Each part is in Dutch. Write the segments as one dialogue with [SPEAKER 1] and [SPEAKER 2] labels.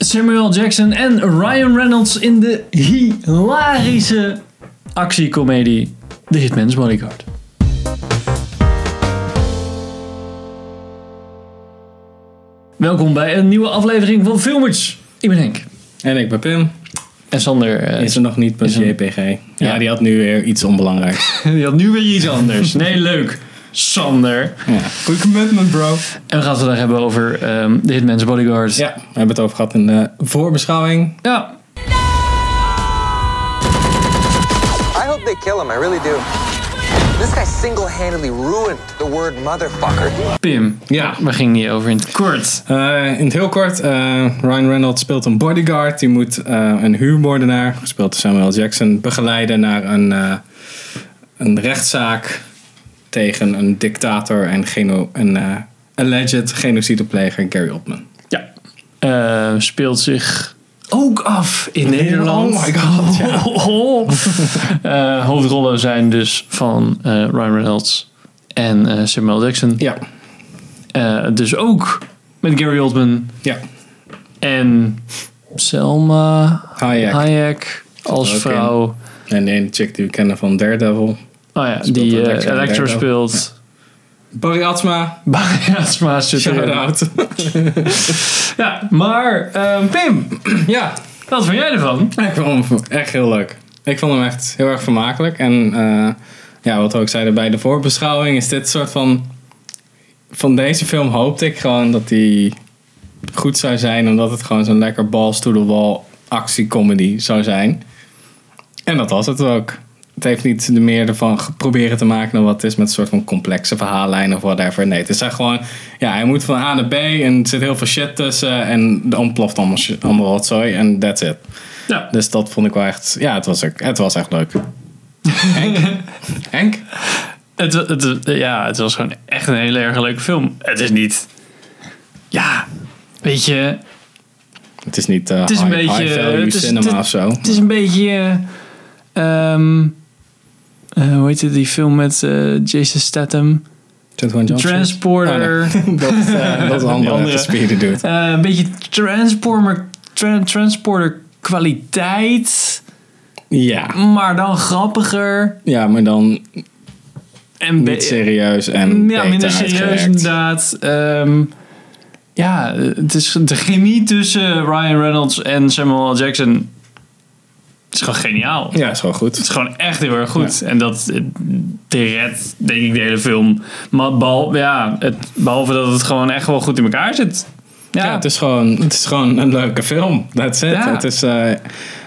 [SPEAKER 1] Samuel Jackson en Ryan Reynolds in de hilarische actiecomedie The Hitman's Bodyguard. Welkom bij een nieuwe aflevering van Filmers. Ik ben Henk.
[SPEAKER 2] En ik ben Pim.
[SPEAKER 1] En Sander eh,
[SPEAKER 2] Is er nog niet pas
[SPEAKER 1] is een-
[SPEAKER 2] JPG? Ja, die had nu weer iets onbelangrijks.
[SPEAKER 1] die had nu weer iets anders. Nee, leuk. Sander.
[SPEAKER 2] ja. Goeie commitment, bro.
[SPEAKER 1] En we gaan het vandaag hebben over ehm The Hitman's Bodyguard.
[SPEAKER 2] Ja, we hebben het over gehad in de voorbeschouwing.
[SPEAKER 1] ja.
[SPEAKER 3] I hope they kill him, I really do. This guy single handedly ruined the word motherfucker.
[SPEAKER 1] Pim.
[SPEAKER 2] Ja.
[SPEAKER 1] Waar ging die over in het kort?
[SPEAKER 2] Eh, in het heel kort, eh, Ryan Reynolds speelt een bodyguard. Die moet eh, een huurmoordenaar, gespeeld door Samuel Jackson, begeleiden naar een, eh, een rechtszaak tegen een dictator en geno een eh, alleged genocidepleger Gary Oldman.
[SPEAKER 1] Ja. Eh, speelt zich ook af in Nederland.
[SPEAKER 2] Oh my god, ja.
[SPEAKER 1] Oh, oh. Eh, hoofdrollen zijn dus van eh, Ryan Reynolds en eh, Samuel Jackson.
[SPEAKER 2] Ja,
[SPEAKER 1] Eh, dus ook met Gary Oldman
[SPEAKER 2] ja.
[SPEAKER 1] en Selma
[SPEAKER 2] Hayek.
[SPEAKER 1] Hayek als
[SPEAKER 2] Ook in.
[SPEAKER 1] vrouw.
[SPEAKER 2] En de ene chick die we kennen van Daredevil.
[SPEAKER 1] Oh ja,
[SPEAKER 2] Speelt
[SPEAKER 1] die
[SPEAKER 2] ook
[SPEAKER 1] eh,
[SPEAKER 2] Jackson
[SPEAKER 1] Electro
[SPEAKER 2] Daredevil.
[SPEAKER 1] speelt.
[SPEAKER 2] Barry Atma,
[SPEAKER 1] Bariasma zit erin.
[SPEAKER 2] shout-out.
[SPEAKER 1] Ja, maar ehm, Pim,
[SPEAKER 2] ja,
[SPEAKER 1] wat vind jij ervan?
[SPEAKER 2] Ik vond hem echt heel leuk. Ik vond hem echt heel erg vermakelijk. En eh, ja, wat we ook zeiden bij de voorbeschouwing, is dit soort van. Van deze film hoopte ik gewoon dat die goed zou zijn, omdat het gewoon zo'n lekker balls to the wall actiecomedy zou zijn. En dat was het ook. Het heeft niet de meer ervan ge- proberen te maken dan wat het is met een soort van complexe verhaallijn of whatever. Nee, het is echt gewoon, ja, hij moet van A naar B en er zit heel veel shit tussen en er ontploft allemaal, shi- allemaal wat zooi en that's it.
[SPEAKER 1] Ja.
[SPEAKER 2] Dus dat vond ik wel echt. Ja, het was, ook, het was echt leuk. Henk? Henk?
[SPEAKER 1] Het, het, ja, het was gewoon echt een hele erg leuke film. Het is niet. Ja, weet je.
[SPEAKER 2] Het is niet. eh
[SPEAKER 1] Het is een
[SPEAKER 2] high,
[SPEAKER 1] beetje,
[SPEAKER 2] high value
[SPEAKER 1] het is-
[SPEAKER 2] cinema
[SPEAKER 1] het-
[SPEAKER 2] of zo.
[SPEAKER 1] Het is een beetje. eh, ehm, eh, hoe heet het, die film met eh, Jason Statham? Transporter.
[SPEAKER 2] Oh, dat, is, eh, dat is een
[SPEAKER 1] Die
[SPEAKER 2] andere
[SPEAKER 1] andere.
[SPEAKER 2] gespierde dude.
[SPEAKER 1] Eh, een beetje Transformer, tra- Transporter kwaliteit.
[SPEAKER 2] Ja.
[SPEAKER 1] Maar dan grappiger.
[SPEAKER 2] ja, maar dan
[SPEAKER 1] En be-
[SPEAKER 2] niet serieus en.
[SPEAKER 1] Ja,
[SPEAKER 2] beter
[SPEAKER 1] minder serieus
[SPEAKER 2] uitgewerkt.
[SPEAKER 1] inderdaad. Ehm, ja, het is de chemie tussen Ryan Reynolds en Samuel L. Jackson is gewoon geniaal.
[SPEAKER 2] Ja, is wel
[SPEAKER 1] Het
[SPEAKER 2] goed.
[SPEAKER 1] is gewoon echt heel erg goed. En dat eh, de red, denk ik, de hele film. Maar behal, ja, het, behalve dat het gewoon echt wel goed in elkaar zit. Ja,
[SPEAKER 2] Ja,
[SPEAKER 1] ja,
[SPEAKER 2] het, is gewoon, het is gewoon een leuke film. That's it.
[SPEAKER 1] Ja.
[SPEAKER 2] Het, is, eh,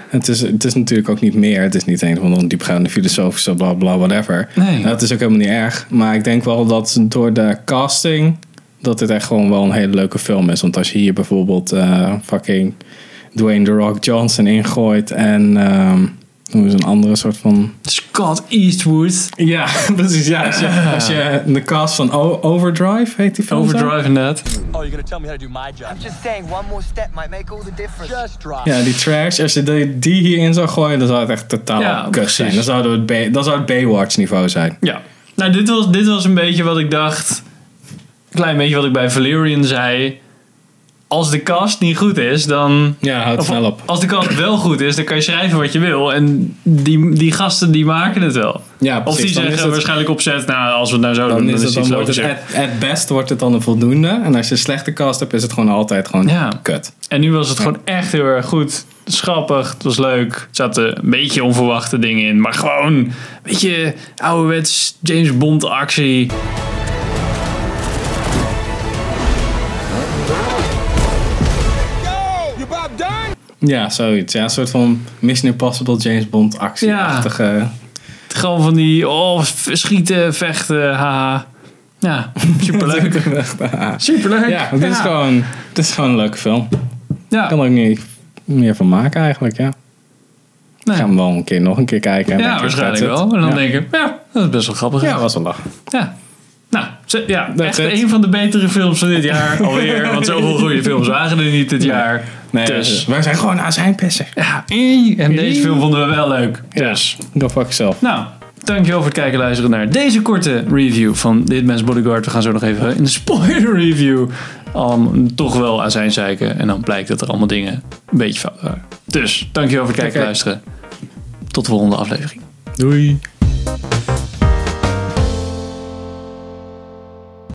[SPEAKER 2] het, is, het is natuurlijk ook niet meer. Het is niet een van de diepgaande filosofische bla bla whatever.
[SPEAKER 1] Nee.
[SPEAKER 2] Dat is ook helemaal niet erg. Maar ik denk wel dat door de casting. dat dit echt gewoon wel een hele leuke film is. Want als je hier bijvoorbeeld eh, fucking Dwayne The Rock Johnson ingooit. en. ehm noemen ze een andere soort van.
[SPEAKER 1] Scott Eastwood.
[SPEAKER 2] Ja, precies. Ja, als je, als je de cast van O- Overdrive heet die film. zo?
[SPEAKER 1] Overdrive inderdaad.
[SPEAKER 4] Oh, you're gonna tell me how to do my job.
[SPEAKER 3] I'm just saying, one more step might make all the difference. Just drop.
[SPEAKER 2] Ja, die trash, als je die, die hierin zou gooien, dan zou het echt totaal
[SPEAKER 1] Ja,
[SPEAKER 2] kut
[SPEAKER 1] precies.
[SPEAKER 2] zijn. Dan, zouden we het Bay- dan zou het Baywatch niveau zijn.
[SPEAKER 1] Ja. Nou, dit was, dit was een beetje wat ik dacht. Een klein beetje wat ik bij Valerian zei. Als de cast niet goed is, dan.
[SPEAKER 2] Ja, houd
[SPEAKER 1] of
[SPEAKER 2] snel op.
[SPEAKER 1] Als de cast wel goed is, dan kan je schrijven wat je wil. En die, die gasten die maken het wel.
[SPEAKER 2] Ja,
[SPEAKER 1] of
[SPEAKER 2] precies.
[SPEAKER 1] die
[SPEAKER 2] Dan is
[SPEAKER 1] zeggen
[SPEAKER 2] het-
[SPEAKER 1] waarschijnlijk opzet, nou als we het nou zo
[SPEAKER 2] Dan,
[SPEAKER 1] doen,
[SPEAKER 2] is het, dan
[SPEAKER 1] iets
[SPEAKER 2] wordt het
[SPEAKER 1] logischer.
[SPEAKER 2] at, at best wordt het dan een voldoende. En als je een slechte cast hebt, is het gewoon altijd gewoon
[SPEAKER 1] Ja.
[SPEAKER 2] kut.
[SPEAKER 1] En nu was het gewoon echt heel erg goed. Het is grappig, het was leuk. Er zaten een beetje onverwachte dingen in. Maar gewoon, een beetje ouderwets James Bond actie.
[SPEAKER 4] Yo, you Bob Dunn?
[SPEAKER 2] Ja, zoiets. Ja, een soort van Mission Impossible James Bond actieachtige...
[SPEAKER 1] Gewoon van die, oh, v- schieten, vechten, haha. Ja, superleuk. superleuk.
[SPEAKER 2] Ja, het is,
[SPEAKER 1] ja.
[SPEAKER 2] gewoon, het is gewoon een leuke film. Ik
[SPEAKER 1] Ja.
[SPEAKER 2] kan er ook niet meer van maken eigenlijk, ja.
[SPEAKER 1] Nee.
[SPEAKER 2] Ik ga hem wel een keer nog een keer kijken. en
[SPEAKER 1] Ja,
[SPEAKER 2] denk ik,
[SPEAKER 1] waarschijnlijk
[SPEAKER 2] that's
[SPEAKER 1] wel.
[SPEAKER 2] it.
[SPEAKER 1] En dan
[SPEAKER 2] Ja.
[SPEAKER 1] denk ik, ja, dat is best wel grappig.
[SPEAKER 2] Ja, was wel lachen.
[SPEAKER 1] Ja. Nou, ze- ja, echt
[SPEAKER 2] it.
[SPEAKER 1] een van de betere films van dit jaar alweer. Want zoveel goede films waren er niet dit jaar.
[SPEAKER 2] Nee,
[SPEAKER 1] Dus.
[SPEAKER 2] wij zijn gewoon azijnpissen.
[SPEAKER 1] Ja, en deze film vonden we wel leuk. Dus.
[SPEAKER 2] Go fuck yourself.
[SPEAKER 1] Nou, dankjewel voor het kijken en luisteren naar deze korte review van The Hitman's Bodyguard. We gaan zo nog even in de spoiler review um, toch wel aan zijn zeiken. En dan blijkt dat er allemaal dingen een beetje fout waren. Dus, dankjewel voor het kijken en
[SPEAKER 2] Oké.
[SPEAKER 1] luisteren. Tot de volgende aflevering.
[SPEAKER 2] Doei.